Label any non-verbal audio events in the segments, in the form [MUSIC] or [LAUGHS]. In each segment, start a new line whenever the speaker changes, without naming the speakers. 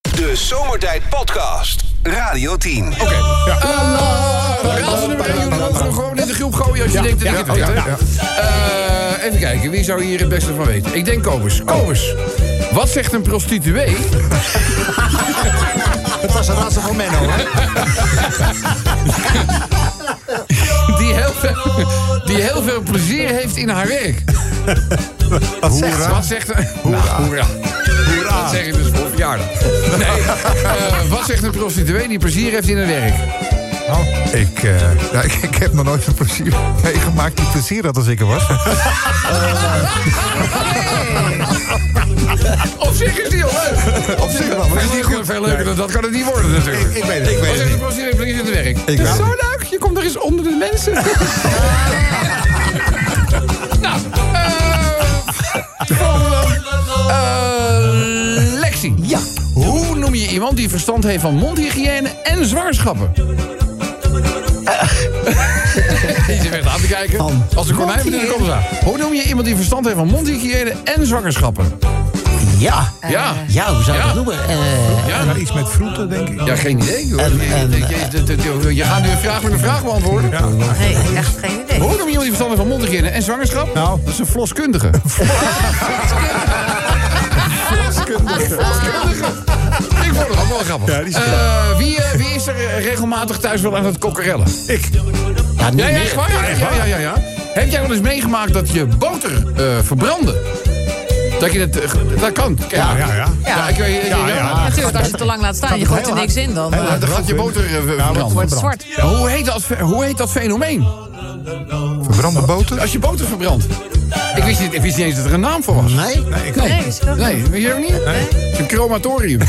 De Zomertijd Podcast. Radio 10.
Oké. Ja.
Raadsel nummer 1, jullie mogen hem gewoon in de groep gooien als je
Ja,
denkt dat
ja, oh
dit het
ja,
is, hè?
ja.
Eh, Even kijken, wie zou hier het beste van weten? Ik denk Kobus.
Oh.
Kobus, wat zegt een prostituee?
Het was een raadsel van Menno, hè?
die heel, veel, die heel veel plezier heeft in haar
[LAUGHS]
werk.
Wat zegt ze?
Wat zegt een... Nou, hoera. Dat zeg ik dus voor verjaardag.
[LAUGHS]
Nee, eh, wat zegt een prostituee die plezier heeft in haar werk?
Oh,
Ik, eh, nou, ik, ik heb nog nooit een plezier meegemaakt die plezier had als ik er was.
Op zich is die al leuk.
Op zich wel, maar
Veel
dat is niet
leuker,
goed.
veel leuker dan dat kan het niet worden natuurlijk.
[LAUGHS] Ik weet het, ik weet
Wat
het
zegt een
niet.
prostituee die plezier in haar werk?
Ik weet het niet.
leuk, je komt er eens onder de mensen. nou, eh, volgende. Eh, Lexi. Ja. Hoe noem je iemand die verstand heeft van mondhygiëne en zwangerschappen? Eh. [LAUGHS] Die zit echt aan te kijken. Als een konijn met de kop aan. Hoe noem je iemand die verstand heeft van mondhygiëne en zwangerschappen?
Ja.
Ja.
Ja, hoe zou je
Ja.
dat noemen? Eh,
Ja.
Maar iets met vroeten, denk ik.
Ja, geen idee. Hoor.
En-
Je-
en-
je, je- je- je- je gaat nu een vraag met een vraag beantwoorden.
Nee, echt geen idee.
Hoe noem je iemand die verstand heeft van mondhygiëne en zwangerschap?
Nou.
dat is een
[LAUGHS]
vloskundige. vloskundige. Ik vond het ook wel grappig.
Ja, die is
Eh, wie, eh, wie is er eh, regelmatig thuis wel aan het kokkerellen?
Ik.
ja, niet
Ja, ja,
meer.
echt waar? Ja, ja, ja, ja, ja. Heb jij wel eens meegemaakt dat je boter eh, verbrandde? Dat je dat... eh, ge- dat kan.
Ja, ja, ja.
Ja, ik weet...
Ja,
ja,
ja.
Natuurlijk, als je het te lang laat staan, je gooit er niks in dan. eh,
Dan gaat je boter eh, verbranden.
wordt het zwart.
Ja, Hoe heet, dat, fe- hoe heet dat fenomeen?
Verbrande boter?
Als je boter verbrandt. Ik wist niet, ik wist niet eens dat er een naam voor was.
Nee?
Nee, ik
Nee, is het ook
Nee, weet je ook niet? Het is Een
[LAUGHS]
chromatorium. Dus.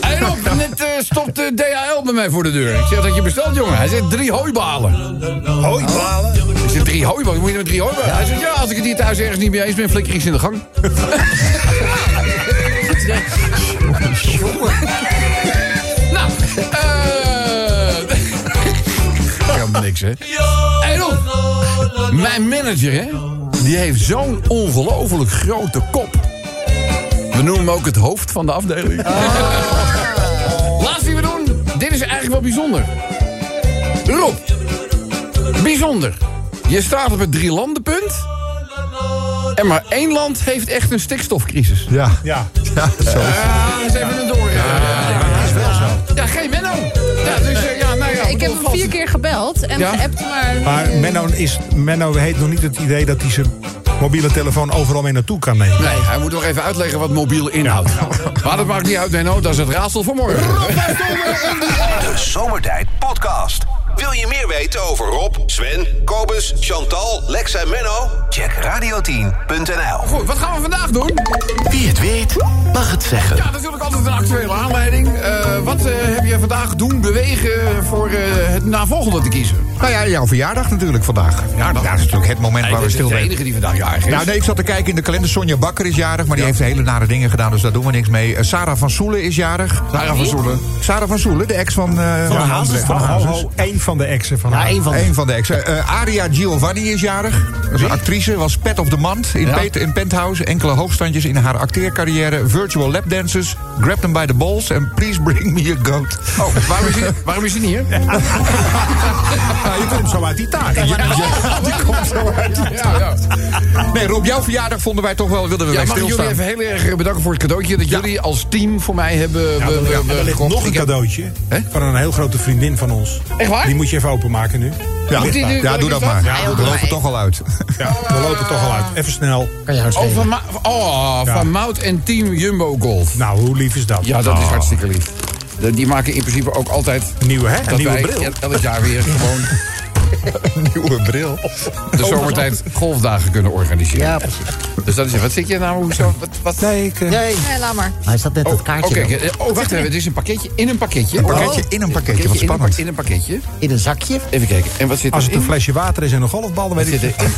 En op, net eh, stopt de DHL bij mij voor de deur. Ik zeg dat je bestelt, jongen. Hij zegt drie hooibalen.
Hooibalen.
Ik zeg drie hooibalen? Moet je met drie hooibalen? Hij zegt ja, als ik het hier thuis ergens niet mee eens ben, flikker ik ze in de gang. Nou, eh. Kan niks, hè? Hey, Rob. Mijn manager, hè? Die heeft zo'n ongelooflijk grote kop. We noemen hem ook het hoofd van de afdeling. Laatste die we doen. Dit is eigenlijk wel bijzonder. Rob. Bijzonder. Je staat op het drielandenpunt. En maar één land heeft echt een stikstofcrisis.
Ja. Ja. Ja, zo.
Ja, dat is even een door. Ja, dat is wel zo. Ja, geen Menno. Ja, dus eh, ja, nou ja.
Ik heb
bedoel,
hem
vast.
vier keer gebeld en
Ja?
geappt, maar...
Maar Menno, is, Menno heeft nog niet het idee dat hij zijn mobiele telefoon overal mee naartoe kan nemen.
Nee, hij moet nog even uitleggen wat mobiel inhoudt. Maar dat maakt niet uit, Menno. Dat is het raadsel van morgen.
De Zomertijd Podcast. Wil je meer weten over Rob, Sven, Kobus, Chantal, Lex en Menno? Check radio10.nl.
Goed, wat gaan we vandaag doen?
Wie het weet, mag het zeggen.
Ja, natuurlijk altijd een actuele aanleiding. Eh, wat eh, heb je vandaag doen, bewegen voor eh, het navolgende te kiezen?
Nou ja, jouw verjaardag natuurlijk vandaag. Ja, dat is natuurlijk het moment waar we stil
de
bij
enige die vandaag jarig is.
Nou, nee, ik zat te kijken in de kalender. Sonja Bakker is jarig, maar die heeft hele nare dingen gedaan, dus daar doen we niks mee. Eh, Sarah van Soelen is jarig. Sarah van Soelen. Sarah van Soelen, de ex van... eh van Hazes. Van Hazes.
Eén van de exen van
Ja, één van de...
Eén van de ex. Eh, Aria Giovanni is jarig. Dat is een actrice, was pet of the month in, Pet- in Penthouse. Enkele hoogstandjes in haar acteercarrière. Virtual lapdancers. Grab them by the balls en please bring me a goat.
Oh, waarom is hij, waarom is hij niet hier?
Ah,
je komt zo uit die taart.
[LAUGHS]
die komt zo uit die
Ja, ja.
Nee, Rob, jouw verjaardag vonden wij toch wel, wilden we
Ja,
bij
mag ik jullie
stilstaan.
even heel erg bedanken voor het cadeautje dat jullie als team voor mij hebben
Ja,
we-
er
we-
ligt-
we-
er ligt
gekocht.
nog een
Ik heb-
cadeautje
Hè?
van een heel grote vriendin van ons.
Echt waar?
Die moet je even openmaken nu.
Ja,
Moet die nu-
ja, doe dat maar.
Ja,
Ja, we lopen toch al uit.
Ja, we lopen toch al uit. Even snel.
Kan je
Oh,
uitschrijven.
van, Ma- oh,
Ja.
van Mout en Team Jumbo Golf.
Nou, hoe lief is dat?
Ja, dat is
Ah.
hartstikke lief. De- Die maken in principe ook altijd...
Een nieuwe, hè? Een
dat
nieuwe
wij
bril.
el- elk jaar
[LAUGHS]
weer gewoon
Nieuwe bril.
Oh,
de zomertijd golfdagen kunnen organiseren.
Ja, precies.
Dus dat is... Wat zit je nou? Hoezo? Wat, wat?
Nee, ik, eh,
Nee.
Nee, laat maar.
Hij staat net dat
Oh,
kaartje
kijk,
wel.
eh, oh, wacht even. Het is een pakketje in een pakketje.
Een pakketje in een pakketje, wat
in een pak-
spannend.
In een Oh. pakketje.
in een zakje.
Even kijken. En wat zit
Als het
erin?
een flesje water is en een golfbal, dan weet ik
Zit er-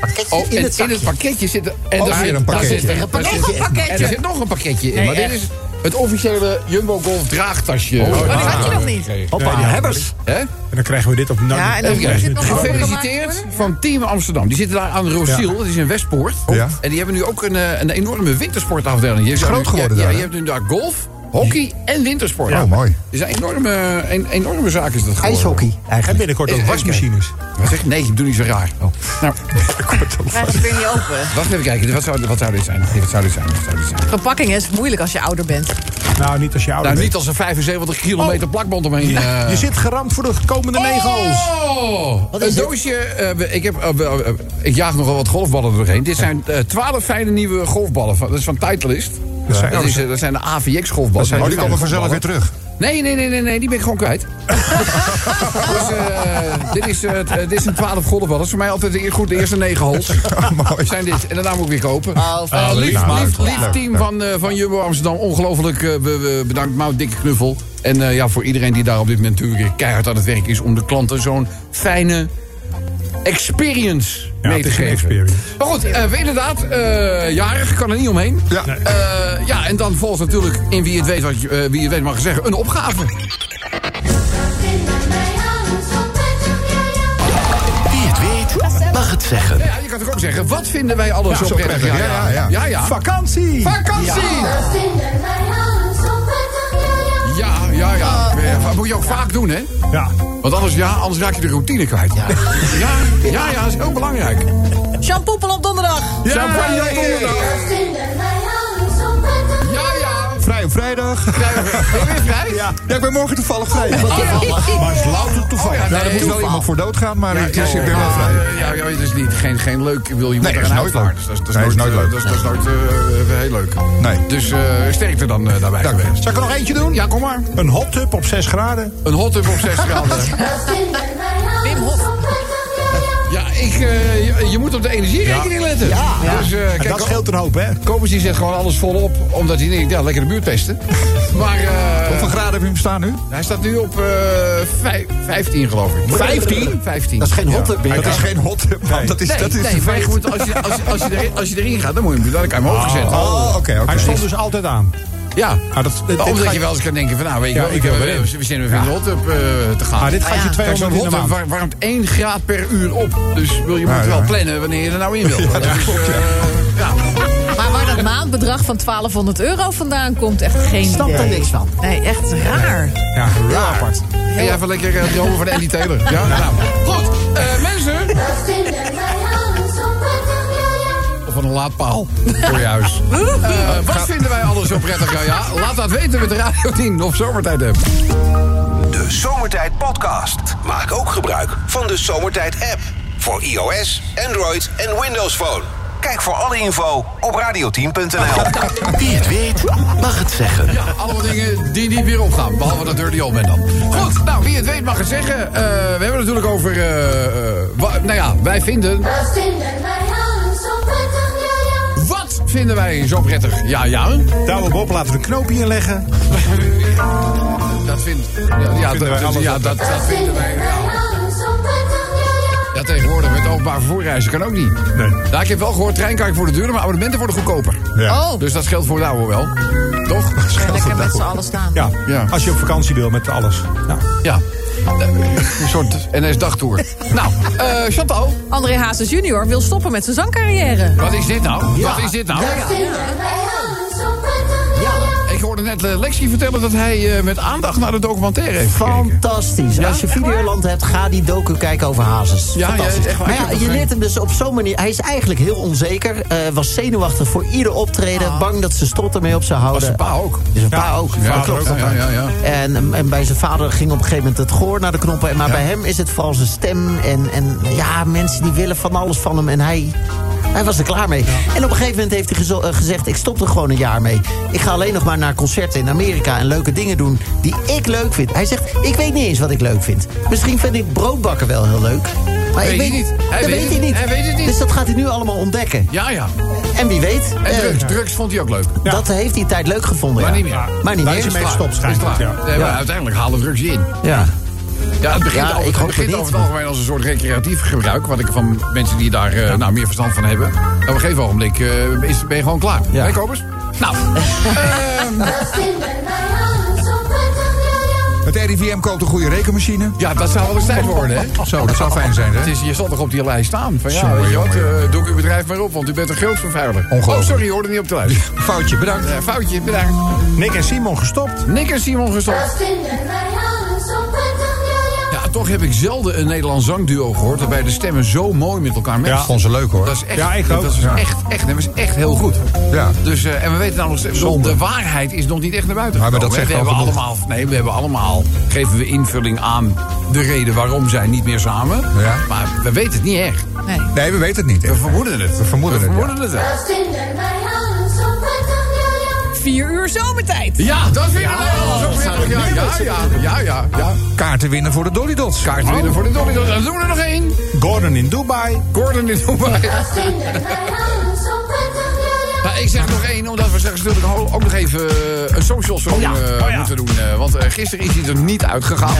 Pakketje
Oh,
in
en
het
in
zakje.
het pakketje zit er... En
Ook
daar
weer
zit-
een
daar
pakketje.
zit er-
Nog een
daar zit-
pakketje.
En er zit nog een pakketje in. Maar dit
echt.
is Het officiële Jumbo Golf draagtasje. Oh,
Oh, die had je nog niet.
Hoppa,
die hadden
hebbers.
Hè?
En dan krijgen we dit op... Nou,
Ja, en dan
Even
moet
kijken.
het nog overgemaakt
Gefeliciteerd
worden.
van Team Amsterdam. Die zitten daar aan Rosiel, dat is in Westpoort.
Ja.
En die hebben nu ook een, eh, een enorme wintersportafdeling. Je hebt
groot
daar nu-
geworden
ja,
daar,
Ja, je
hè?
hebt nu daar golf, hockey en wintersport.
Oh, mooi.
Het is een enorme, een, enorme zaak is dat geworden.
Ijshockey
en
eigenlijk.
binnenkort ook
Even
wasmachines.
Wat zeg je? Nee, doe niet zo raar.
Oh.
Nou,
Krijg je het weer niet open.
wacht even kijken. Wat zou, wat zou dit zijn? Wat zou dit zijn? Wat zou dit zijn?
[LAUGHS] Verpakking is moeilijk als je ouder bent.
Nou, niet als je ouder
Nou,
bent.
niet als er 75 kilometer plakband omheen... eh,
Je zit geramd voor de komende negen holes.
Oh,
is
een
dit?
doosje. eh, we- ik, heb, eh, we- eh, ik jaag nogal wat golfballen er doorheen. Dit zijn eh, twaalf fijne nieuwe golfballen. Van, dat is van Titleist. Dat
zijn-
zijn, dat, is, eh, dat zijn de AVX golfballen.
Oh, die
Fijne
komen vanzelf weer
golfballen.
terug.
Nee, nee, nee, nee, nee, die ben ik gewoon kwijt. dus, eh, dit, is, eh, t- eh, dit zijn 12 golfballen. Dat is voor mij altijd de, eer- goed, de eerste negen
[LAUGHS]
holes.
Mooi.
Zijn dit. En daarna moet ik weer kopen. Eh,
Oh, fijn.
lief,
Nou,
lief,
leuk,
lief
leuk,
team
leuk.
van, eh, van Jumbo Amsterdam. Ongelooflijk eh, be- be- bedankt. Mout, dikke knuffel. En eh, ja, voor iedereen die daar op dit moment natuurlijk weer keihard aan het werk is... om de klanten zo'n fijne experience
Ja,
mee
het
te
is een
geven.
experience.
Maar goed, eh, we inderdaad, eh, jarig, kan er niet omheen.
Ja.
Nee.
Eh, ja, en dan volgt natuurlijk, in wie het weet, wat je, eh, wie het weet mag zeggen, een opgave.
Wie het weet, mag het zeggen.
Ja, je kan toch ook zeggen, wat vinden wij alles
zo
zo prettig?
prettig, ja, ja, ja.
Vakantie!
Vakantie! Ja, ja, ja.
Ah.
Dat moet je ook vaak doen, hè?
Ja.
Want anders, ja, anders raak je de routine kwijt. Ja, ja, ja, dat is heel belangrijk.
Shampoepel op donderdag.
Champagne op donderdag. Ja, ja.
Vrij op vrijdag.
Krijgen we- Ben Oh, je weer vrij? [LAUGHS] Ja.
Ja, ik ben morgen toevallig vrij.
Maar het is louter toevallig.
Oh, ja,
Nou,
nee.
er moet wel iemand voor doodgaan, maar het is, ik ben wel vrij.
Eh, Ja, ja, het is niet, geen, geen leuk. Ik Wil, je moet
Nee,
er
is
een
nooit
uitvaart. Dus
leuk.
Dat is, dat
Nee,
is
is
nooit,
nooit
eh,
leuk.
Dat is, dat is nooit eh, heel leuk.
Nee.
Dus eh, sterkte dan eh, daarbij.
Dank je.
gewenst. Zal ik er nog eentje doen? Ja, kom maar.
Een hot tub op 6 graden.
Een hot tub op 6 graden.
[LAUGHS]
Ja, ik, eh, je, je moet op de energierekening letten. Ja, Dus, eh, kijk,
Dat scheelt een hoop, hè?
Kobus die zet gewoon alles volop, omdat hij denkt, ja, lekker de buurt testen. [LAUGHS] Maar eh,
Hoeveel graden heb je hem staan nu?
hij staat nu op eh, vijf- 15, geloof ik.
15?
15.
Dat is geen hotte
Dat
beer.
is geen hot tub, man. Dat is,
Nee,
dat is
nee, maar je moet, als, je, als, je- als, je erin, als je erin gaat, dan, moet je, dan kan je hem hoog zetten.
Oh, oké, oké.
Hij stond dus altijd aan.
Ja,
Ah, dat- dit- dit
omdat
ga
je
je-
wel eens kan denken van, nou, weet je
Ja,
wel,
ik
ik
wil
heb
erin.
we zinnen weer in de hot tub eh, te gaan.
Ah, dit gaat je
Kijk,
200
zo'n
in de
hot tub
maand.
war- warmt 1 graad per uur op. Dus wil, je moet
ja.
wel plannen wanneer je er nou
[LAUGHS]
in wil. dat is, eh, ja.
Maar waar dat maandbedrag van 1200 euro vandaan komt, echt geen
Snap er
idee.
niks van.
Nee, echt raar.
Ja, heel apart.
En jij even lekker eh, die homo van Andy Taylor. Ja, nou. Goed, eh, mensen. Van een laadpaal voor je huis. Eh, wat vinden wij alles zo prettig? Ja, ja, laat dat weten met de Radio 10 of Zomertijd hebben.
De Zomertijd Podcast. Maak ook gebruik van de Zomertijd app. Voor iOS, Android en Windows Phone. Kijk voor alle info op radio10.nl.
Wie het weet, mag het zeggen.
Ja, allemaal dingen die niet weer opgaan. Behalve dat Dirty Old Man dan. Goed, nou, wie het weet mag het zeggen. Eh, we hebben het natuurlijk over... eh, eh, wa- nou ja, wij vinden... Wat vinden wij zo prettig? Ja, ja.
[LAUGHS] Douwe Bob, laten we een knoopje inleggen.
Dat vindt... Ja, ja,
Vinden wij
dat,
alles
ja
op-
dat, dat vinden wij... ja. Ja, tegenwoordig met openbaar vervoer reizen kan ook niet.
Nee.
Nou, ik heb wel gehoord, treinkaarten voor de duurder, maar abonnementen worden goedkoper.
Ja.
Oh,
Dus dat scheelt voor nou wel. Toch?
lekker met z'n allen staan.
Ja.
Ja.
als je op vakantie wil met alles. Nou,
Ja. Eh, Een soort NS-dagtour. nou, eh, Chantal,
André Hazes junior wil stoppen met zijn zangcarrière.
wat is dit nou? Wat is dit nou? Ik hoorde net eh, Lexi vertellen dat hij eh, met aandacht naar de documentaire heeft gekeken.
Fantastisch. Als je Videoland hebt, ga die docu kijken over Hazes.
Ja,
Fantastisch.
ja, echt waar.
maar
Ik heb
ja,
nog
je
geen-
leert hem dus op zo'n manier... Hij is eigenlijk heel onzeker. eh, was zenuwachtig voor ieder optreden. Bang dat zijn strot ermee op zou houden.
zijn Ah. pa ook.
Is een pa ook.
ja,
dat klopt.
ja, ja, ja.
En, en bij zijn vader ging op een gegeven moment het goor naar de knoppen. En Maar bij hem is het vooral zijn stem. En, en ja, mensen die willen van alles van hem. En hij, hij was er klaar mee. En op een gegeven moment heeft hij gezo- eh, gezegd... ik stop er gewoon een jaar mee. Ik ga alleen nog maar naar concerten in Amerika... en leuke dingen doen die ik leuk vind. Hij zegt, ik weet niet eens wat ik leuk vind. Misschien vind ik broodbakken wel heel leuk. Maar
Weet
ik
hij
weet
niet. Hij
dat
weet
weet
het-
hij niet.
hij weet het niet.
Dus dat gaat hij nu allemaal ontdekken.
Ja, ja.
En wie weet,
En
eh,
drugs, drugs vond hij ook leuk.
dat heeft hij een tijd leuk gevonden.
Maar
ja.
niet meer.
Maar niet
daar is
meer.
hij mee
Klaar.
gestopt
Is
schijnbaar.
klaar.
Ja.
Nee, maar uiteindelijk halen drugs je in.
Ja.
Ja, het begint,
Ja,
over,
ik
het
hoop
begint
het niet,
over het algemeen als een soort recreatief gebruik. Wat ik van Nou, mensen die daar eh, nou, meer verstand van hebben. Op een gegeven ogenblik eh, is, ben je gewoon klaar.
Ja.
Hè, Kobus? Ehm, Nou,
Het RIVM koopt een goede rekenmachine.
ja, dat zou wel eens tijd worden, hè?
Zo, dat zou fijn zijn,
Het
hè?
is, je stond toch op die lijst staan? Van ja,
Jongen,
weet je wat,
jongen,
eh, doe ik uw bedrijf maar op, want u bent een groot vervuiler.
Ongelooflijk.
Oh, sorry, hoorde niet op de lijst.
Foutje, bedankt.
Eh, foutje, bedankt.
Nick en Simon gestopt.
Nick en Simon gestopt. Ja, toch heb ik zelden een Nederlands zangduo gehoord... waarbij de stemmen zo mooi met elkaar matchen.
Ja, vond
ze leuk, hoor.
Dat is echt,
Ja, ik ook.
Dat is
Ja.
echt, echt, dat is echt heel goed.
Ja.
Dus, eh, en we weten namelijk, steeds- bedoel, de waarheid is nog niet echt naar buiten
Maar dat
gekomen, hè.
zegt
we
al
hebben
genoeg.
allemaal, Nee, we hebben allemaal, geven we invulling aan de reden waarom zij niet meer samen.
Ja.
Maar we weten het niet echt.
Nee.
Nee, we weten het niet. hè.
We vermoeden het.
We vermoeden het, ja.
het wel.
Vier uur zomertijd.
Ja, dat vind ik wel. Zo vind ik het, Ja, ja, ja, ja, ja.
Kaarten winnen voor de Dolly Dots. Oh.
Kaart winnen voor de Dolly. Dots. Dan doen we er nog één.
Gordon in Dubai.
Gordon in Dubai. Nou, ik zeg nog één, omdat we straks natuurlijk ho- ook nog even eh, een social song eh, moeten doen. eh, want eh, gisteren is hij er niet uitgegaan.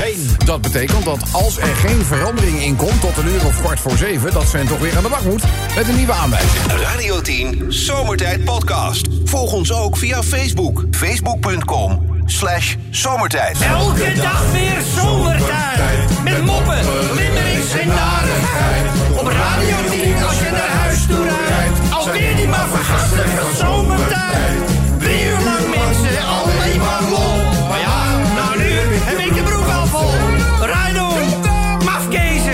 Dat betekent dat als er geen verandering in komt tot een uur of kwart voor zeven... dat Sven toch weer aan de bak moet met een nieuwe aanwijzing.
Radio 10 Zomertijd Podcast. Volg ons ook via Facebook. Facebook.com slash zomertijd.
Elke dag weer zomertijd. Met moppen, limmerings en narigheid. Op Radio 10 als je naar huis toe rijdt. Alweer die maar vergastige zomertijd. Drie uur lang mensen, alleen maar lol. Maar ja, na een uur heb ik de broek al vol. Rijdoen, mafkezen.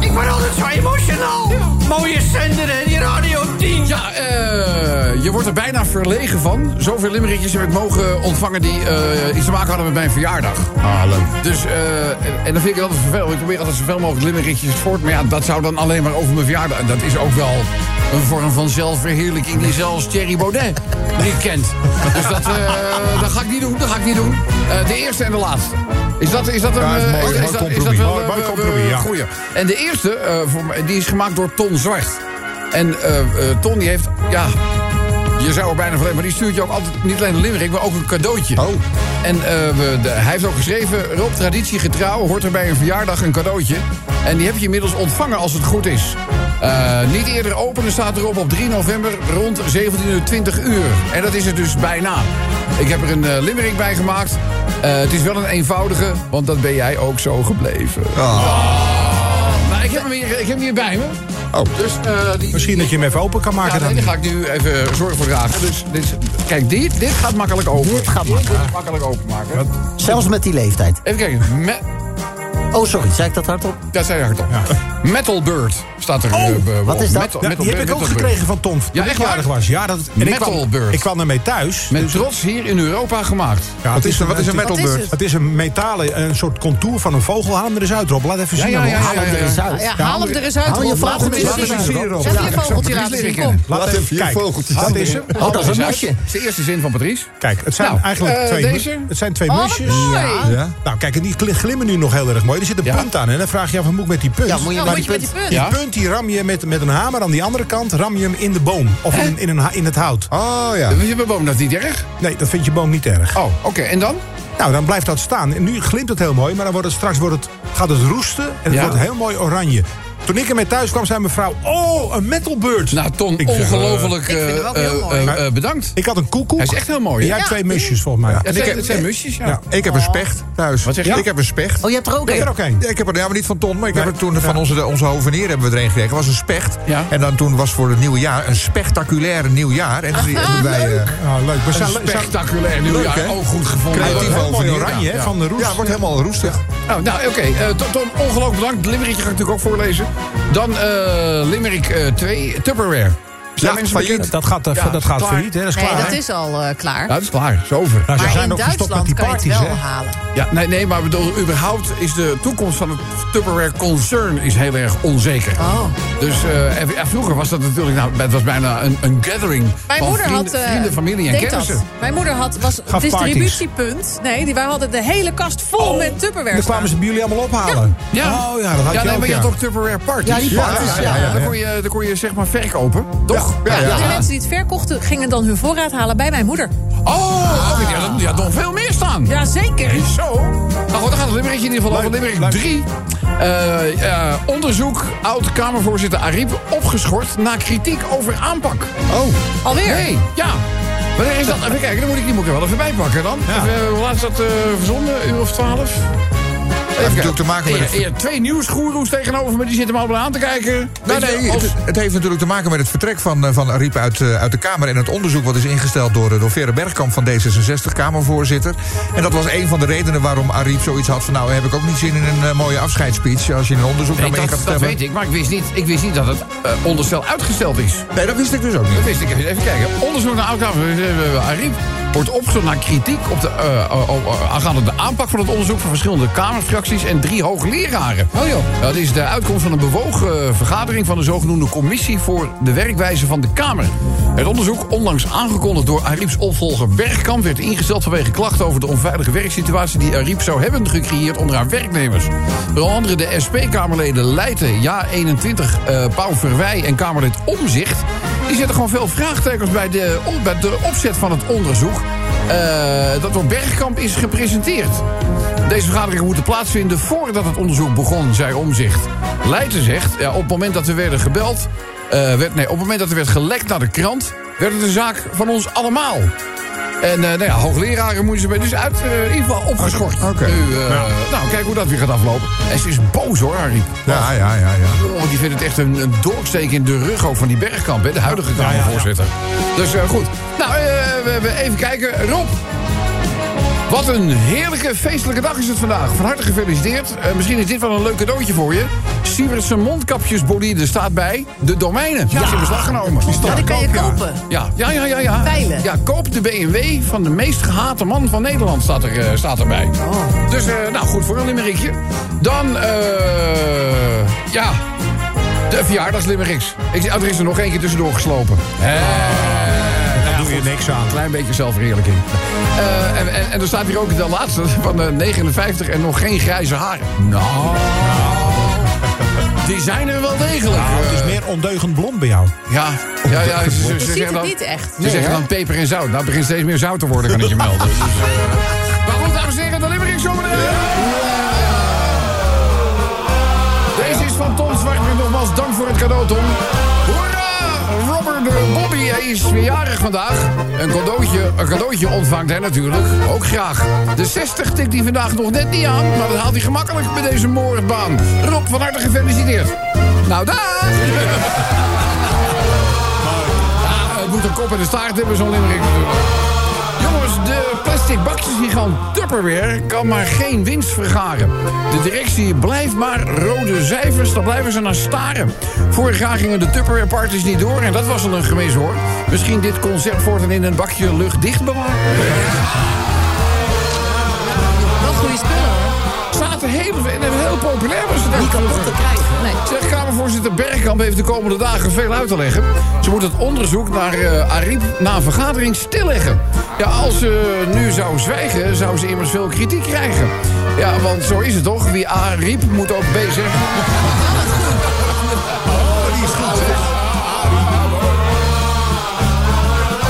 Ik word altijd zo emotional. Mooie zender en die Radio 10.
Ja, eh, je wordt er bijna verlegen van. Zoveel limmerikjes heb ik mogen ontvangen die eh, iets te maken hadden met mijn verjaardag. Ah, leuk. Dus, eh, en, en dan vind ik altijd vervelend. Ik probeer altijd zoveel mogelijk limmerikjes voort. Maar ja, dat zou dan alleen maar over mijn verjaardag. En dat is ook wel een vorm van zelfverheerlijking die zelfs Thierry Baudet niet kent. Dus dat, eh, dat ga ik niet doen, dat ga ik niet doen. Eh, de eerste en de laatste. Is dat, is dat een...
Ja, is mooi,
eh,
mooi
dat- is dat
compromis.
wel
Mooi,
eh,
mooi
we- we-
compromis, ja.
goeie? En de eerste, eh, voor mij- die is gemaakt door Ton Zwart. En eh, eh, Ton die heeft, ja, je zou er bijna van maar die stuurt je ook altijd niet alleen een limerick, maar ook een cadeautje.
Oh.
En eh, we, de- hij heeft ook geschreven, Rob, traditie getrouw, hoort er bij een verjaardag een cadeautje. En die heb je inmiddels ontvangen als het goed is. Eh, niet eerder openen staat erop op 3 november rond 17 uur 20 uur. En dat is het dus bijna. Ik heb er een eh, limerick bij gemaakt. Eh, het is wel een eenvoudige, want dat ben jij ook zo gebleven.
Ah.
Maar ik heb hem hier, ik heb hem hier bij me.
Oh.
Dus, eh, die,
Misschien dat je hem even open kan maken
ja, nee,
dan.
die ga ik nu even zorg voor dragen. Dus, dit is- kijk, dit, dit gaat makkelijk open.
Dit gaat makkelijk.
Dit is makkelijk openmaken.
Zelfs met die leeftijd.
Even kijken. Me,
Oh, sorry, zei ik dat hardop?
dat zei je hardop. Metal Bird staat er. eh, be-
wat
op.
is dat?
Metal-
Ja,
Metal
die heb
Bird,
ik ook
Metal Bird.
gekregen van Tom. toen
echt
ik jarig
waar?
was. Ja, dat, en ik kwam,
Metalbeurt.
ik kwam ermee thuis.
Met trots hier in Europa gemaakt.
Ja,
Wat is, er- wat is een
het
Wat is
metalbeurt?
het?
Het is een metalen, een soort contour van een vogel. Haal hem er eens uit, Rob. Laat even zien.
ja,
Rob.
ja,
Haal hem er eens uit.
Ja, haal hem er eens uit.
Haal je
Rob. Laat hem
vogeltje
eens
laat
zien.
hem eens zien, Rob.
Zet je vogeltje
Drie
laten zien.
lirikken.
Kom.
Laat even,
je
kijk,
vogeltje
Laat
zien.
eens-
Haal
dat is
eens
een
uit.
musje.
Dat is de eerste zin van Patrice.
Kijk, het zijn
Nou,
eigenlijk
eh,
twee, mu-
deze?
het zijn twee
Oh, wat
musjes.
mooi.
Ja.
Nou, kijk, en die gl- glimmen nu nog heel erg mooi. Er zit een
Ja.
punt aan. En dan vraag je af, wat moet ik met die punt?
Ja, moet je
Ja,
bij
moet je met die punt.
Die
Ja.
punt die ram je met, met een hamer. Aan die andere kant ram je hem in de boom. Of in,
Eh.
in, een, ha- in het hout.
Oh ja.
We hebben boom, dat is niet erg.
Nee, dat vindt je boom niet erg.
Oh, oké. En dan?
Nou, dan blijft dat staan. En nu glimt het heel mooi, maar dan wordt het, straks wordt het, gaat het roesten. En het
Ja.
wordt heel mooi oranje. Toen ik ermee thuis kwam, zei mijn vrouw... Oh, een metalbird.
Nou, Ton,
Ik zeg, eh,
ongelooflijk
Ik vind hem
eh,
ook heel
eh,
mooi.
eh, eh, bedankt.
Ik had een koekoek.
Hij is echt heel mooi, hè?
En jij hebt
Ja. Oh.
twee musjes, volgens mij.
Het
En ik
zijn,
heb
het zijn musjes, ja.
Ja.
Ik heb een specht thuis.
Wat zeg je?
Ik heb een specht.
Oh, je hebt er ook
er
een.
ook één.
Ja, ik heb er, ja, maar niet van Ton, maar ik heb
Nee.
er toen van onze, de- onze hovenier hebben we er een gekregen. was een specht.
Ja.
En dan toen was voor het nieuwe jaar een spectaculaire
[LAUGHS]
nieuwjaar. En toen hebben wij... eh,
Ah, leuk. Maar zijn- zijn-
Spectaculair
Leuk,
nieuwjaar.
hè?
Ook goed gevonden.
hij wordt
creatief
heel mooi
overnieuw,
oranje,
ja,
hè,
ja.
van de roes.
ja, wordt helemaal roestig.
Oh, nou, oké. Eh, Tom, Tom, ongelooflijk bedankt. Het Limerickje ga ik natuurlijk ook voorlezen. Dan eh Limerick eh, 2, Tupperware.
Ja, failliet.
Dat gaat, eh,
Ja,
dat gaat
klaar.
failliet, hè? Dat is
Nee,
klaar.
dat
hè?
is al eh, klaar.
Ja, dat is klaar. Is over.
Nou, ze
maar in
zijn ook gestopt met
Duitsland
die
kan je het
parties,
wel
hè?
halen.
Ja, nee, nee, maar bedoel, überhaupt is de toekomst van het Tupperware-concern is heel erg onzeker.
Oh.
Dus eh, en- ja, vroeger was dat natuurlijk, nou, het was bijna een, een gathering
Mijn
van
moeder
vrienden,
had. eh,
vrienden, familie en
deed
kennissen.
dat. Mijn moeder had, was een
parties.
distributiepunt. Nee, die, wij hadden de hele kast vol met Tupperware.
Dan kwamen ze bij jullie allemaal ophalen. Oh ja, dat had
ja,
je
nee,
ook,
maar je
ja.
had ook Tupperware parties.
Ja, die parties, ja, ja,
Dan kon je, dan kon je zeg maar verkopen, toch?
Ja, ja.
staan. De mensen die het verkochten gingen dan hun voorraad halen bij mijn moeder.
Oh, oké, die had- die had nog veel meer staan.
Jazeker.
Is Zo. Nou goed, dan gaat het limmerikje in ieder geval over. Limmerik 3. Eh, eh, onderzoek, oud-Kamervoorzitter Ariep opgeschort na kritiek over aanpak.
Oh,
Alweer.
Nee, ja. Wanneer is dat? Even kijken, dan moet ik die boeken wel even bijpakken dan.
Ja.
Even, eh, hoe laat is dat eh, verzonden? Uur of twaalf?
heeft natuurlijk te maken met
Eer-
het-
eer twee nieuwsgoeroes tegenover me, die zitten me allemaal aan te kijken.
Nou,
Weet je
nee,
wel,
het,
als-
het heeft natuurlijk te maken met het vertrek van, eh, van Ariep uit, eh, uit de Kamer... en het onderzoek wat is ingesteld door, eh, door Vera Bergkamp van D66, Kamervoorzitter. En dat was een van de redenen waarom Ariep zoiets had van... nou, heb ik ook niet zin in een eh, mooie afscheidsspeech... als je in een onderzoek
Nee,
naar me in
dat,
gaat
dat
stemmen.
weet ik, maar ik wist niet, ik wist niet dat het eh, onderstel uitgesteld is.
Nee, dat wist ik dus ook niet.
Dat wist ik even. Even kijken. Onderzoek naar eh, oud-kamervoorzitter Ariep wordt opgezocht naar kritiek op de, eh, eh, op, eh, aangaande de aanpak van het onderzoek van verschillende kamerfracties en drie hoogleraren. Oh joh. Dat is de uitkomst van een bewogen eh, vergadering van de zogenoemde commissie voor de werkwijze van de Kamer. Het onderzoek, onlangs aangekondigd door Ariep's opvolger Bergkamp, werd ingesteld vanwege klachten over de onveilige werksituatie die Ariep zou hebben gecreëerd onder haar werknemers. Door andere de SP-Kamerleden Leijten, Ja21, eh Pauw Verwij en Kamerlid Omzicht die zetten gewoon veel vraagtekens bij de, op- bij de opzet van het onderzoek. eh, dat door Bergkamp is gepresenteerd. Deze vergaderingen moeten plaatsvinden voordat het onderzoek begon, zei Omzicht. Leijten zegt, ja, op het moment dat we werden gebeld... eh, werd, nee, op het moment dat er werd gelekt naar de krant... werd het een zaak van ons allemaal. En eh, nou ja, hoogleraren moeten ze bij dus uit eh, in ieder geval opgeschort.
Oké.
Nu, eh, Nou, kijk hoe dat weer gaat aflopen. En ze is boos hoor, Harry.
Ja, ja, ja, ja.
Oh, die vindt het echt een, een doorsteek in de rug ook van die Bergkamp, hè, de huidige Kamervoorzitter. Dus eh, goed. Nou, eh, we, we even kijken. Rob, wat een heerlijke feestelijke dag is het vandaag. Van harte gefeliciteerd. Eh, misschien is dit wel een leuk cadeautje voor je. Sievertsen mondkapjesbolide staat bij de domeinen. Die is in beslag genomen.
Ja, die kan je kopen.
Ja, ja, ja, ja. ja.
Pijlen.
Ja, koop de BMW van de meest gehate man van Nederland, staat, er, eh, staat erbij.
Oh.
Dus, eh, nou goed, voor een limmerikje. Dan, eh ja, de verjaardagslimmeriks. Ik, oh, er is er nog eentje tussendoor geslopen. Eh, Hé,
Daar doe je niks aan.
klein beetje zelfverheerlijking. Eh, en, en, en er staat hier ook de laatste van eh, 59 en nog geen grijze haren. Nou, die zijn er wel degelijk.
Nou, het is
eh,
meer ondeugend blond bij jou.
ja, ja, ja. Ze, ze- ze
Je ziet
zeggen
het
dan-
niet echt.
ze zeggen dan peper en zout. Nou, het begint steeds meer zout te worden, kan
[LAUGHS]
ik je melden. Dus, eh, Maar goed, dames en heren, de Limerick zometeen. Deze is van Tom Zwart. En nogmaals, dank voor het cadeau, Tom. Hoera! Robert eh, Bobby, hij is weer jarig vandaag. Een cadeautje, een cadeautje ontvangt hij natuurlijk ook graag. De 60 tikt hij vandaag nog net niet aan, maar dat haalt hij gemakkelijk bij deze moordbaan. Rob, van harte gefeliciteerd. Nou, daar! Ja, Ah, het moet een kop en een staart hebben, zo'n limmering natuurlijk. Jongens, de plastic bakjesgigant Tupperware kan maar geen winst vergaren. De directie blijft maar rode cijfers, daar blijven ze naar staren. Vorig jaar gingen de Tupperware parties niet door en dat was al een gemis hoor. Misschien dit concept voortaan in een bakje luchtdicht bewaren?
Wel goede spullen hoor.
Zaten heel, en heel populair was het ook.
Die kapot te krijgen.
Nee.
Zeg, Kamervoorzitter Bergkamp heeft de komende dagen veel uit te leggen. Ze moet het onderzoek naar eh Ariep na een vergadering stilleggen. Ja, als ze nu zou zwijgen, zou ze immers veel kritiek krijgen. Ja, want zo is het toch? Wie A riep, moet ook B zeggen. Oh, die is goed, hè?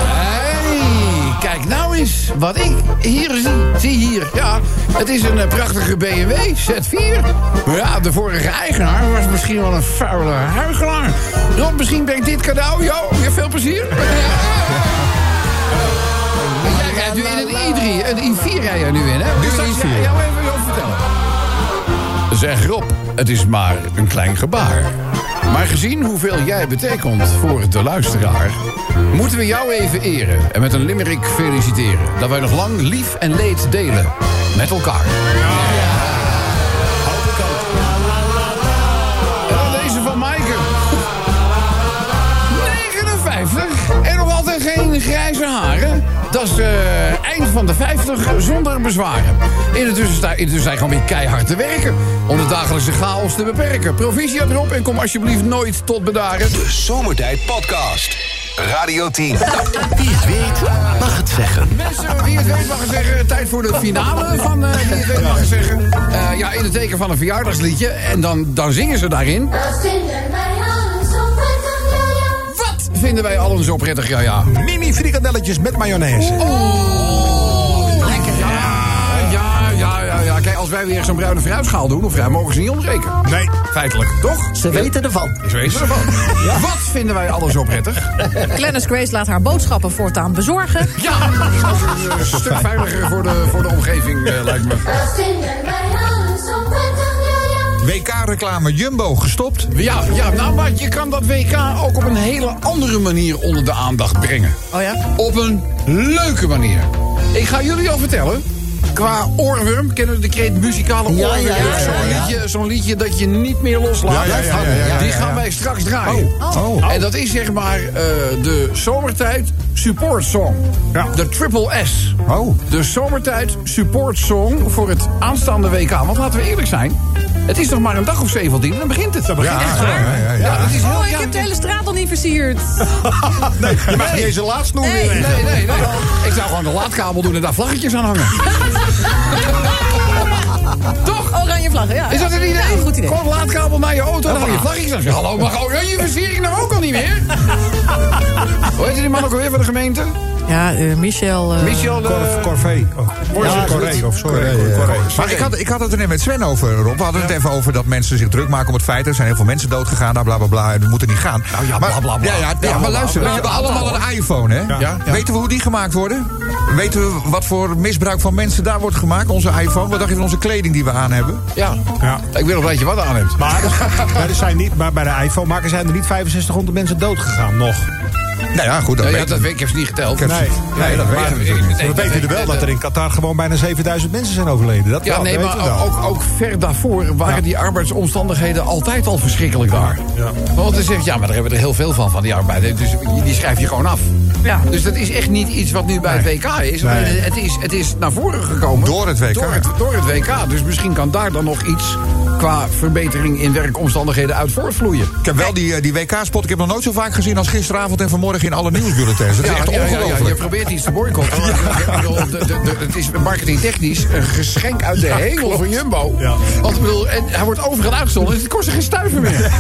Hey, Kijk nou eens wat ik hier zie. Zie hier. Ja, het is een eh, prachtige BMW Z4. Maar Ja, de vorige eigenaar was misschien wel een vuile huigelaar. Rob, misschien brengt dit cadeau. Jo, je veel plezier. [LAUGHS] En Jij rijdt nu in een i3. Een i4 rij jij nu in, hè? Dus dat
i4.
Ja, ja, maar even over vertellen. Zeg Rob, het is maar een klein gebaar. Maar gezien hoeveel jij betekent voor de luisteraar... moeten we jou even eren en met een limerick feliciteren... dat wij nog lang lief en leed delen met elkaar. En dan deze van Maaike. 59 en nog altijd geen grijze haren. Dat is eh, eind van de 50 zonder bezwaren. In de tussentijd in de tussentijd gewoon weer keihard te werken. Om de dagelijkse chaos te beperken. Proficiat erop en kom alsjeblieft nooit tot bedaren.
De Zomertijd Podcast. Radio 10.
Wie het weet, mag het zeggen.
Mensen, wie het weet mag het zeggen. Tijd voor de finale van eh, wie het weet mag het zeggen. Eh, ja, in het teken van een verjaardagsliedje. En dan, dan zingen ze daarin. Wat vinden wij allen zo prettig? Ja, ja.
Mini frikandelletjes met mayonaise.
Ja, ja, ja, ja, ja. Kijk, wij, als wij weer zo'n bruine fruitschaal doen, of ja, mogen ze niet ontbreken.
Nee.
Feitelijk, toch?
Ze weten ervan.
Is wees ervan. Wat vinden wij alles zo prettig?
Glennis Grace laat haar boodschappen voortaan bezorgen.
Ja, dat is een stuk veiliger voor de, voor de omgeving, eh, lijkt me.
WK-reclame Jumbo gestopt.
Ja, ja, nou, maar je kan dat WK ook op een hele andere manier onder de aandacht brengen.
Oh ja?
Op een leuke manier. Ik ga jullie al vertellen. Qua oorworm kennen we de kreet muzikale
Ja,
oorworm.
ja, ja,
Zo'n
ja, ja.
liedje, zo'n liedje dat je niet meer loslaat.
Ja, ja, ja, ja, ja, ja.
Die gaan wij straks draaien.
Oh.
En dat is zeg maar eh, de zomertijd support song.
Ja.
De triple S.
Oh.
De zomertijd support song voor het aanstaande WK. Want laten we eerlijk zijn. Het is nog maar een dag of 17 en dan begint het. Dan begint
het.
Ja, ja, ja.
dat is heel
Oh, ik
ja,
heb de hele straat al niet versierd.
Je mag niet eens een laatst nog
Nee.
weer leggen.
Nee, nee, nee. Ik zou gewoon de laadkabel doen en daar vlaggetjes aan hangen. Toch?
Oranje vlaggen, ja.
Is dat een idee?
Ja, goed idee.
Gewoon laadkabel naar je auto
Oh,
en dan hang je vlaggetjes aan. Hallo, maar oranje versiering nou ook al niet
[LAUGHS]
meer? Hoe heet die man ook alweer van de gemeente?
Ja, eh, Michel... eh,
Michel de...
Corv- Corvée. Oh,
Ja,
ja, Corvée of sorry.
eh,
Corvée.
Maar ik had, ik had het er net met Sven over, Rob. We hadden het even over dat mensen zich druk maken om het feit... er zijn heel veel mensen doodgegaan, nou, bla, bla, bla. en We moeten niet gaan. Nou
ja, bla, bla, bla.
Ja, ja, ja,
Ja, bla,
maar
bla,
luister,
bla,
we hebben
bla, bla,
allemaal een iPhone, hè?
Ja, ja.
Weten we hoe die gemaakt worden? Weten we wat voor misbruik van mensen daar wordt gemaakt? Onze iPhone, wat dacht je van onze kleding die we aan hebben?
Ja.
Ja.
Ik wil nog dat je wat aan hebt.
Maar, maar, er zijn niet, maar bij de iPhone-makers zijn er niet 6500 mensen doodgegaan nog.
Nou ja, goed, dat
Ja, ja,
weten
dat
we.
weet ik, ik heb ze niet geteld.
Ik heb ze- nee, dat weten we natuurlijk niet.
Nee,
Dat
nee,
weten we
nee,
wel
nee,
dat er in Qatar gewoon bijna 7000 mensen zijn overleden. Dat
Ja,
wel,
nee,
dat weten we
maar
wel.
ook, ook ver daarvoor waren die arbeidsomstandigheden altijd al verschrikkelijk daar. Want dan zegt, ja, maar daar hebben we er heel veel van, van die arbeid. Dus die- die schrijf je gewoon af.
Ja.
Dus dat is echt niet iets wat nu bij het WK is.
Nee.
Het is. Het is naar voren gekomen.
Door het WK.
Door het, door het WK. Dus misschien kan daar dan nog iets qua verbetering in werkomstandigheden uit voortvloeien.
Ik heb wel die, eh, die WK-spot, ik heb nog nooit zo vaak gezien... als gisteravond en vanmorgen in alle nieuwsbulletins. Dat is echt
ja, je
ongelooflijk.
probeert iets te boycotten. maar ik bedoel, de- de- de- Het is marketingtechnisch een geschenk uit de hemel van Jumbo.
Ja.
Want ik bedoel, en hij wordt overal uitgezonden, dus het kost er geen stuiver meer.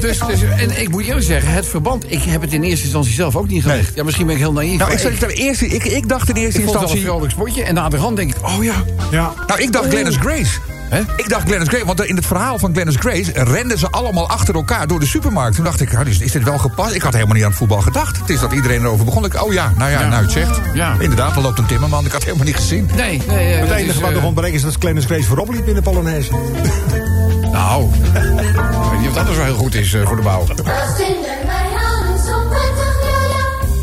dus, dus, en ik moet eerlijk zeggen, het verband, ik heb het in eerste instantie zelf ook niet gelegd. Ja, misschien ben ik heel naïef.
Nou,
maar
ik, zeg ten eerste, ik, ik dacht in eerste
ik vond het wel een
instantie...
vrolijk spotje. En aan de rand denk ik, oh ja,
Ja.
Nou, ik dacht Glennis Grace.
Hè?
Ik dacht Glennis Grace, want in het verhaal van Glennis Grace... renden ze allemaal achter elkaar door de supermarkt. Toen dacht ik, nou, is, is dit wel gepast? Ik had helemaal niet aan het voetbal gedacht. Het is dat iedereen erover begon. Ik, oh ja, nou ja, nou het zegt.
Ja.
Inderdaad, er loopt een timmerman. Ik had helemaal niet gezien.
nee. nee, nee
Het
dat
enige
is,
wat
eh,
nog ontbreekt is dat Clemens Grace voorop liep in de Polonaise.
Nou, ik weet niet of dat dus wel heel goed is eh, voor de bouw.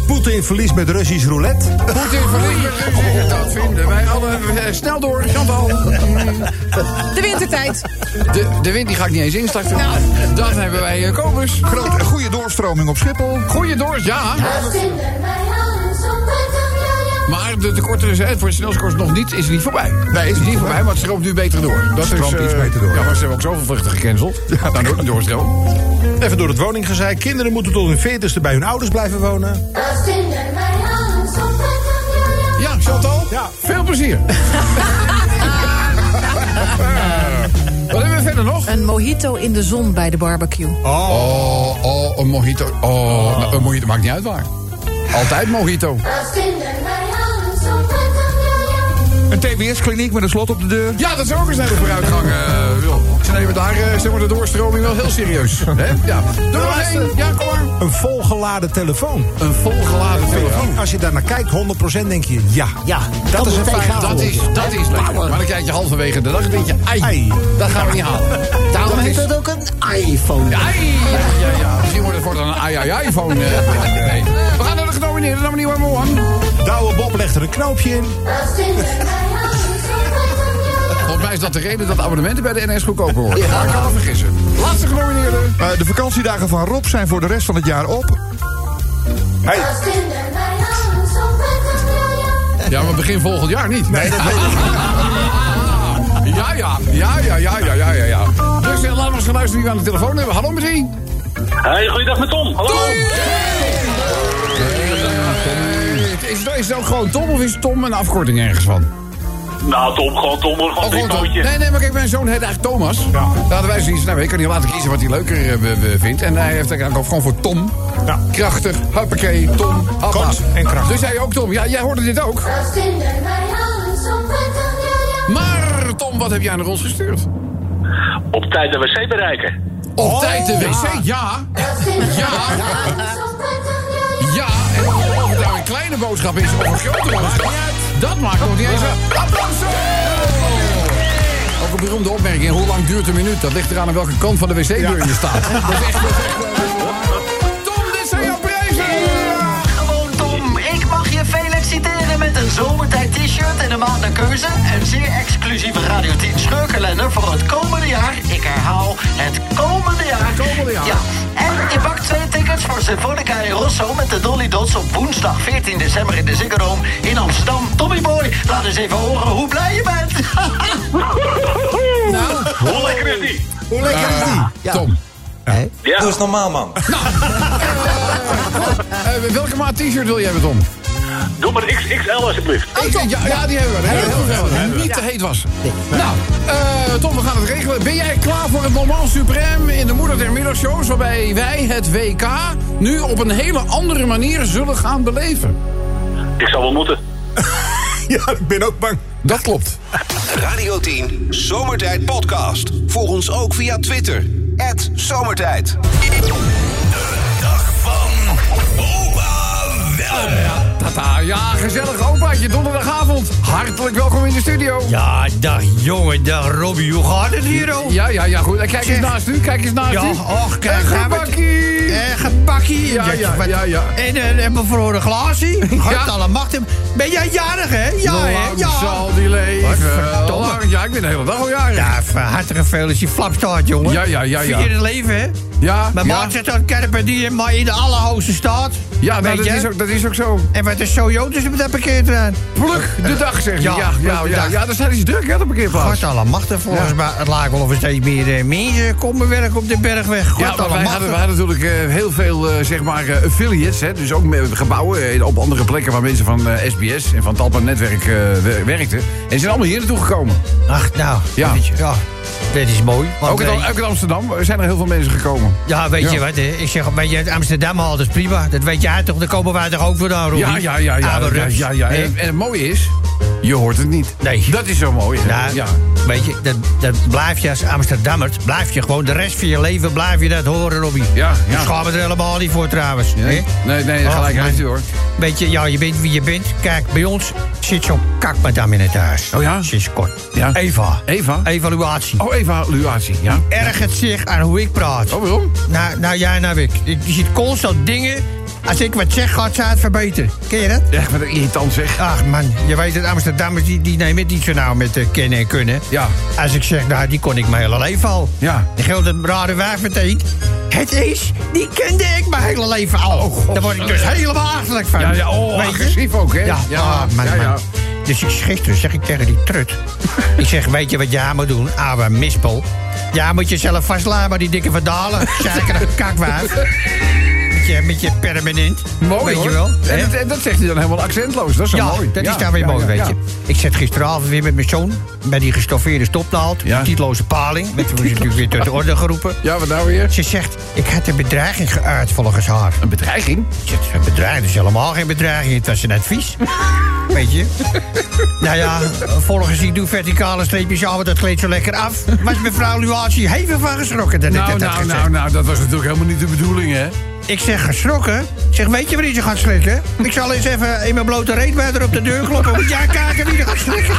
Poetin verliest met Russisch roulette.
Goed in verliezen, dat vinden wij alle. eh, Snel door, Chantal.
De wintertijd.
De, de wind die ga ik niet eens instarten. Dan hebben wij eh, Kobus.
Grote, goede doorstroming op Schiphol.
Goeie doors, ja. Maar de tekorten zijn voor het snelscoors nog niet, is niet voorbij. Nee, is niet voorbij, maar het stroomt nu beter door. Dat
Stroomt
eh,
iets beter door.
Ja, maar ze hebben ook zoveel vluchten gecanceld. Ja, dan ook een doorstroom.
Even door het woninggezeik. Kinderen moeten tot hun veertigste bij hun ouders blijven wonen.
Ja, Chantal.
Ja.
Veel [LAUGHS] plezier. Wat hebben we verder nog?
Een mojito in de zon bij de barbecue.
Oh, oh, een mojito. Oh, nou, een mojito maakt niet uit waar. Altijd mojito.
Een TBS-kliniek met een slot op de deur.
Ja, dat is ook een snelle vooruitgang, eh, Wil. Ze nemen daar eh, zeg maar de doorstroming wel heel serieus. Hè? Ja. Doe er nog één. Ja, kom maar.
Een volgeladen telefoon.
Een volgeladen telefoon.
Als je daar naar kijkt, 100% denk je ja.
Ja, dat,
is
is
een
een
feit,
tegenhaal.
Dat is, dat is lekker. Maar dan kijk je halverwege de dag en denk je, ai,
Ai.
dat gaan we niet halen.
Daarom
dat
heet
is-
het ook een iPhone.
Ai, ja, ja, ja. Misschien wordt het voortaan een ai, ai, ai phone. eh. nee. We gaan naar de genomineerde nominee nummer one.
Douwe Bob legt er een knoopje in.
Volgens mij is dat de reden dat abonnementen bij de NS goedkoper worden. Maar ik kan me vergissen. Laatste genomineerde.
Eh, de vakantiedagen van Rob zijn voor de rest van het jaar op.
Ja, maar begin volgend jaar niet. Nee, dat weet ik. [LAUGHS] Ja, ja, ja, ja, ja, ja, ja, ja, ja. Dus eh, laten we eens gaan luisteren wie we aan de telefoon hebben. Hallo met wie?
Hey, goeiedag met Tom. Hallo.
Is, het- is het ook gewoon Tom of is Tom een afkorting ergens van?
Nou, Tom, gewoon Tom, hoor.
Oh,
Gewoon
gewoon
dit
Tom.
pootje.
Nee, nee, maar kijk, mijn zoon heet eigenlijk Thomas. Ja. Laten wij zoiets, nou, ik kan niet laten kiezen wat hij leuker eh, we- we vindt. En hij heeft eigenlijk ook gewoon voor Tom.
Ja.
Krachtig, huppakee, Tom, happa.
Kort en krachtig.
Dus jij ook Tom. Ja, jij hoorde dit ook. Maar Goedemorgen Tom, wat heb jij naar ons gestuurd?
Op tijd de wc bereiken.
Op tijd de wc, ja. Ja. Ja, en of het nou een kleine boodschap is of een grote boodschap, dat maakt nog niet eens uit. Applaus! Ook een beroemde opmerking, hoe lang duurt een minuut? Dat ligt eraan aan welke kant van de wc-deur je staat. [LAUGHS] Dat is echt, dat is echt Tom, dit zijn jouw prijzen!
Gewoon Tom, ik mag je feliciteren met een zomertijd t-shirt en een maand naar keuze. Een zeer exclusieve Radio 10 scheurkalender voor het komende jaar. Ik herhaal, het komende jaar. komende jaar. Ja. En je pakt twee tickets voor Symfonica in Rosso met de Dolly Dots op woensdag 14 december in de Ziggo Dome in Amsterdam. Tommy Boy, laat eens even horen hoe blij je bent.
Nou, hoe lekker is die?
Hoe lekker is die? Ja.
Tom.
Ja.
Doe eens normaal, man.
Eh, welke maat t-shirt wil jij hebben, Tom?
Doe maar XXL alsjeblieft.
Ik denk, ja, ja, die hebben we. Oh, Heel veel. En Niet te heet was. Nou, eh, Tom, we gaan het regelen. Ben jij klaar voor het Moment Supreme in de Moeder der Middagshows... waarbij wij het WK nu op een hele andere manier zullen gaan beleven?
Ik zal wel moeten.
Ja, ik ben ook bang. Dat klopt.
Radio 10 Zomertijd Podcast. Volg ons ook via Twitter. Zomertijd.
Tata, ja, gezellig opaatje, donderdagavond. Hartelijk welkom in de studio.
Ja, dag jongen, dag Robbie. Hoe gaat het hier, oh?
Ja, ja, ja, goed. En Kijk
Zeg.
eens naast u, kijk eens naast
Ja,
u.
och, kijk,
En
gaan we het-
gebakkie.
Eh, gebakkie.
Oh, Ja, ja,
wat-
ja, ja.
En een en bevroren
[LAUGHS]
glaasje. God alle macht. Ben jij jarig, hè? Ja, hè?
Lang
Ja.
zal die leven.
Wat verdomme.
Lang. Ja, ik ben de hele dag al jarig.
Ja, van harte gefeliciteerd. Flapstaart, jongen.
Ja, ja, ja, ja.
Vier het leven, hè?
Ja,
Maar
ja.
maakt het dan kerpen die in- maar in de allerhoogste staat?
Ja, nou,
Weet
dat
je?
is ook- dat is ook zo.
En wat is zo jood is met dat parkeerterrein?
Pluk de dag, zeg je. Ja,
Ja,
ja, ja.
pluk de
ja,
dag.
daar staat iets druk, hè, op een parkeerplaats.
God alle machten volgens
Ja.
mij. Het lijkt wel of er steeds meer eh, mensen komen werken op de bergweg. God
Ja, maar
alle
wij
machten.
hadden, wij hadden natuurlijk eh, heel veel eh, zeg maar, eh, affiliates. Hè, dus ook met gebouwen eh, op andere plekken waar mensen van eh, SBS en van Talpa Netwerk eh, wer- werkten. En ze zijn allemaal hier naartoe gekomen.
Ach, nou.
Ja.
weet je. ja. Dit is mooi. want,
Ook in,
eh,
Am- ook in Amsterdam zijn er heel veel mensen gekomen.
Ja, weet
Ja.
je wat, hè? ik zeg, weet je, het Amsterdam haalt is prima. Dat weet jij toch, daar komen wij toch ook vandaan, Robbie?
Ja, ja, ja, ja.
Oude
ja,
rups.
ja, ja.
Hè?
En, en het mooie is, je hoort het niet.
Nee.
Dat is zo mooi. hè.
Nou,
ja.
weet je, dat, dat blijf je als Amsterdammer, blijf je gewoon de rest van je leven, blijf je dat horen, Robbie.
Ja, ja.
Ik schaam me er helemaal niet voor, trouwens.
Nee,
hè?
nee, nee, gelijk
Och,
heeft u
man.
hoor.
Weet je, ja, je bent wie je bent. Kijk, bij ons zit zo'n kakmadam in het huis.
Oh ja?
Sinds kort.
Ja.
Eva.
Eva?
Evaluatie.
Oh, evaluatie, ja.
ergert zich aan hoe ik praat.
Oh, waarom?
Nou, nou jij, nou ik. Je je ziet constant dingen. Als ik wat zeg, gaat ze het verbeteren. Ken je dat?
Echt wat irritant zeg.
Ach man, je weet dat Amsterdammers die, die nemen het niet zo nauw met eh, kennen en kunnen.
Ja.
Als ik zeg, nou die kon ik mijn hele leven al.
Ja.
Dan geldt het rare wijf meteen. Het is, die kende ik mijn hele leven al. Daar word ik dus helemaal achterlijk van.
Oh, Ja, ja, oh,
Weet je?
agressief ook, hè?
Ja,
Ja,
ah, man,
ja, ja.
man. Dus ik, gisteren zeg ik tegen die
[LAUGHS]
trut. ik zeg, weet je wat jij moet doen, ouwe mispel? Ja, moet je zelf vastslaan, maar die dikke
[LAUGHS]
verdalen. Zeker een kakwijf. Met je, met je permanent.
Mooi
weet
hoor.
je wel.
En,
hè?
dat- en dat zegt hij dan helemaal accentloos. Dat is zo
ja,
mooi.
dat
Ja,
is daar weer
ja,
mooi,
ja,
weet
ja.
je. Ik zat gisteravond weer met mijn zoon... bij die gestoffeerde stopnaald,
Ja.
die titloze paling. Met we natuurlijk weer tot de orde geroepen.
Ja, wat nou weer?
Ze zegt, ik had een bedreiging geuit volgens haar.
Een bedreiging?
Ik zeg, Een bedreiging is helemaal geen bedreiging, het was een advies. Weet je? Nou ja, volgens die doe verticale streepjes af, want dat gleed zo lekker af. Was mevrouw Luatie hevig van geschrokken dat ik
Nou,
dat had
nou,
gezegd.
nou, nou, dat was natuurlijk helemaal niet de bedoeling,
[LAUGHS]
hè?
Ik zeg geschrokken. Ik zeg, weet je wanneer ze gaat schrikken? Ik zal eens even in mijn blote reet bij haar op de deur kloppen. Moet jij kijken wie er gaat schrikken?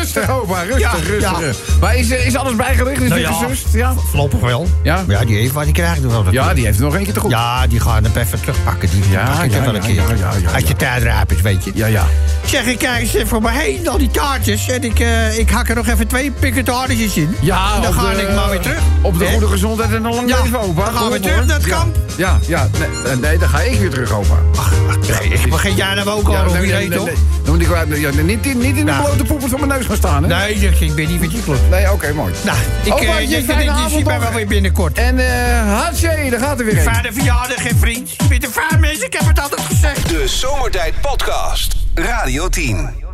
rustig, opa, rustig,
Ja,
rustig.
ja.
Maar is, eh, is alles bijgericht? Is
Nou
dit
ja.
gesust? Ja.
Voorlopig wel.
Ja.
Ja, die heeft wat die krijgt. Wel dat
ja, die heeft er nog eentje te goed.
ja, die gaan hem even terugpakken. Die
Ja,
pak ik
ja,
er wel een
ja,
keer.
ja, ja, ja,
Als je
ja.
tijd raap is, weet je.
ja. ja.
Zeg, ik kijk eens even voor me heen, al die taartjes. En ik, eh, ik hak er nog even twee pikken taartjes in.
Ja,
en Nou, dan
op
ga
de-
ik maar weer terug.
Op de
Hè?
goede gezondheid en een lang
Ja,
leven, opa.
dan gaan we
Kom op,
terug
hoor.
naar het
Ja,
kamp.
Ja, ja. Nee, eh, nee, dan ga ik weer terug, opa.
Ach, nee, ik begin jij nou ook al,
Ja,
op
nee,
wie
nee,
weet toch?
nee, nee. Dan moet ik wel- ja, Niet in- niet in de
Nou.
blote poepers van mijn neus gaan staan, hè?
Nee, zeg, ik ben niet met die club.
Nee, oké, mooi.
Nou, ik
Opa,
eh,
Oh, je
denk dat
fijne
ik je
avond
ziet mij
nog.
wel weer binnenkort.
En eh, hatsje, daar gaat er weer een.
Vader verjaardag en vriend. Ik ben een vaar mens, ik heb het altijd gezegd.
De Zomertijd Podcast. Radio 10.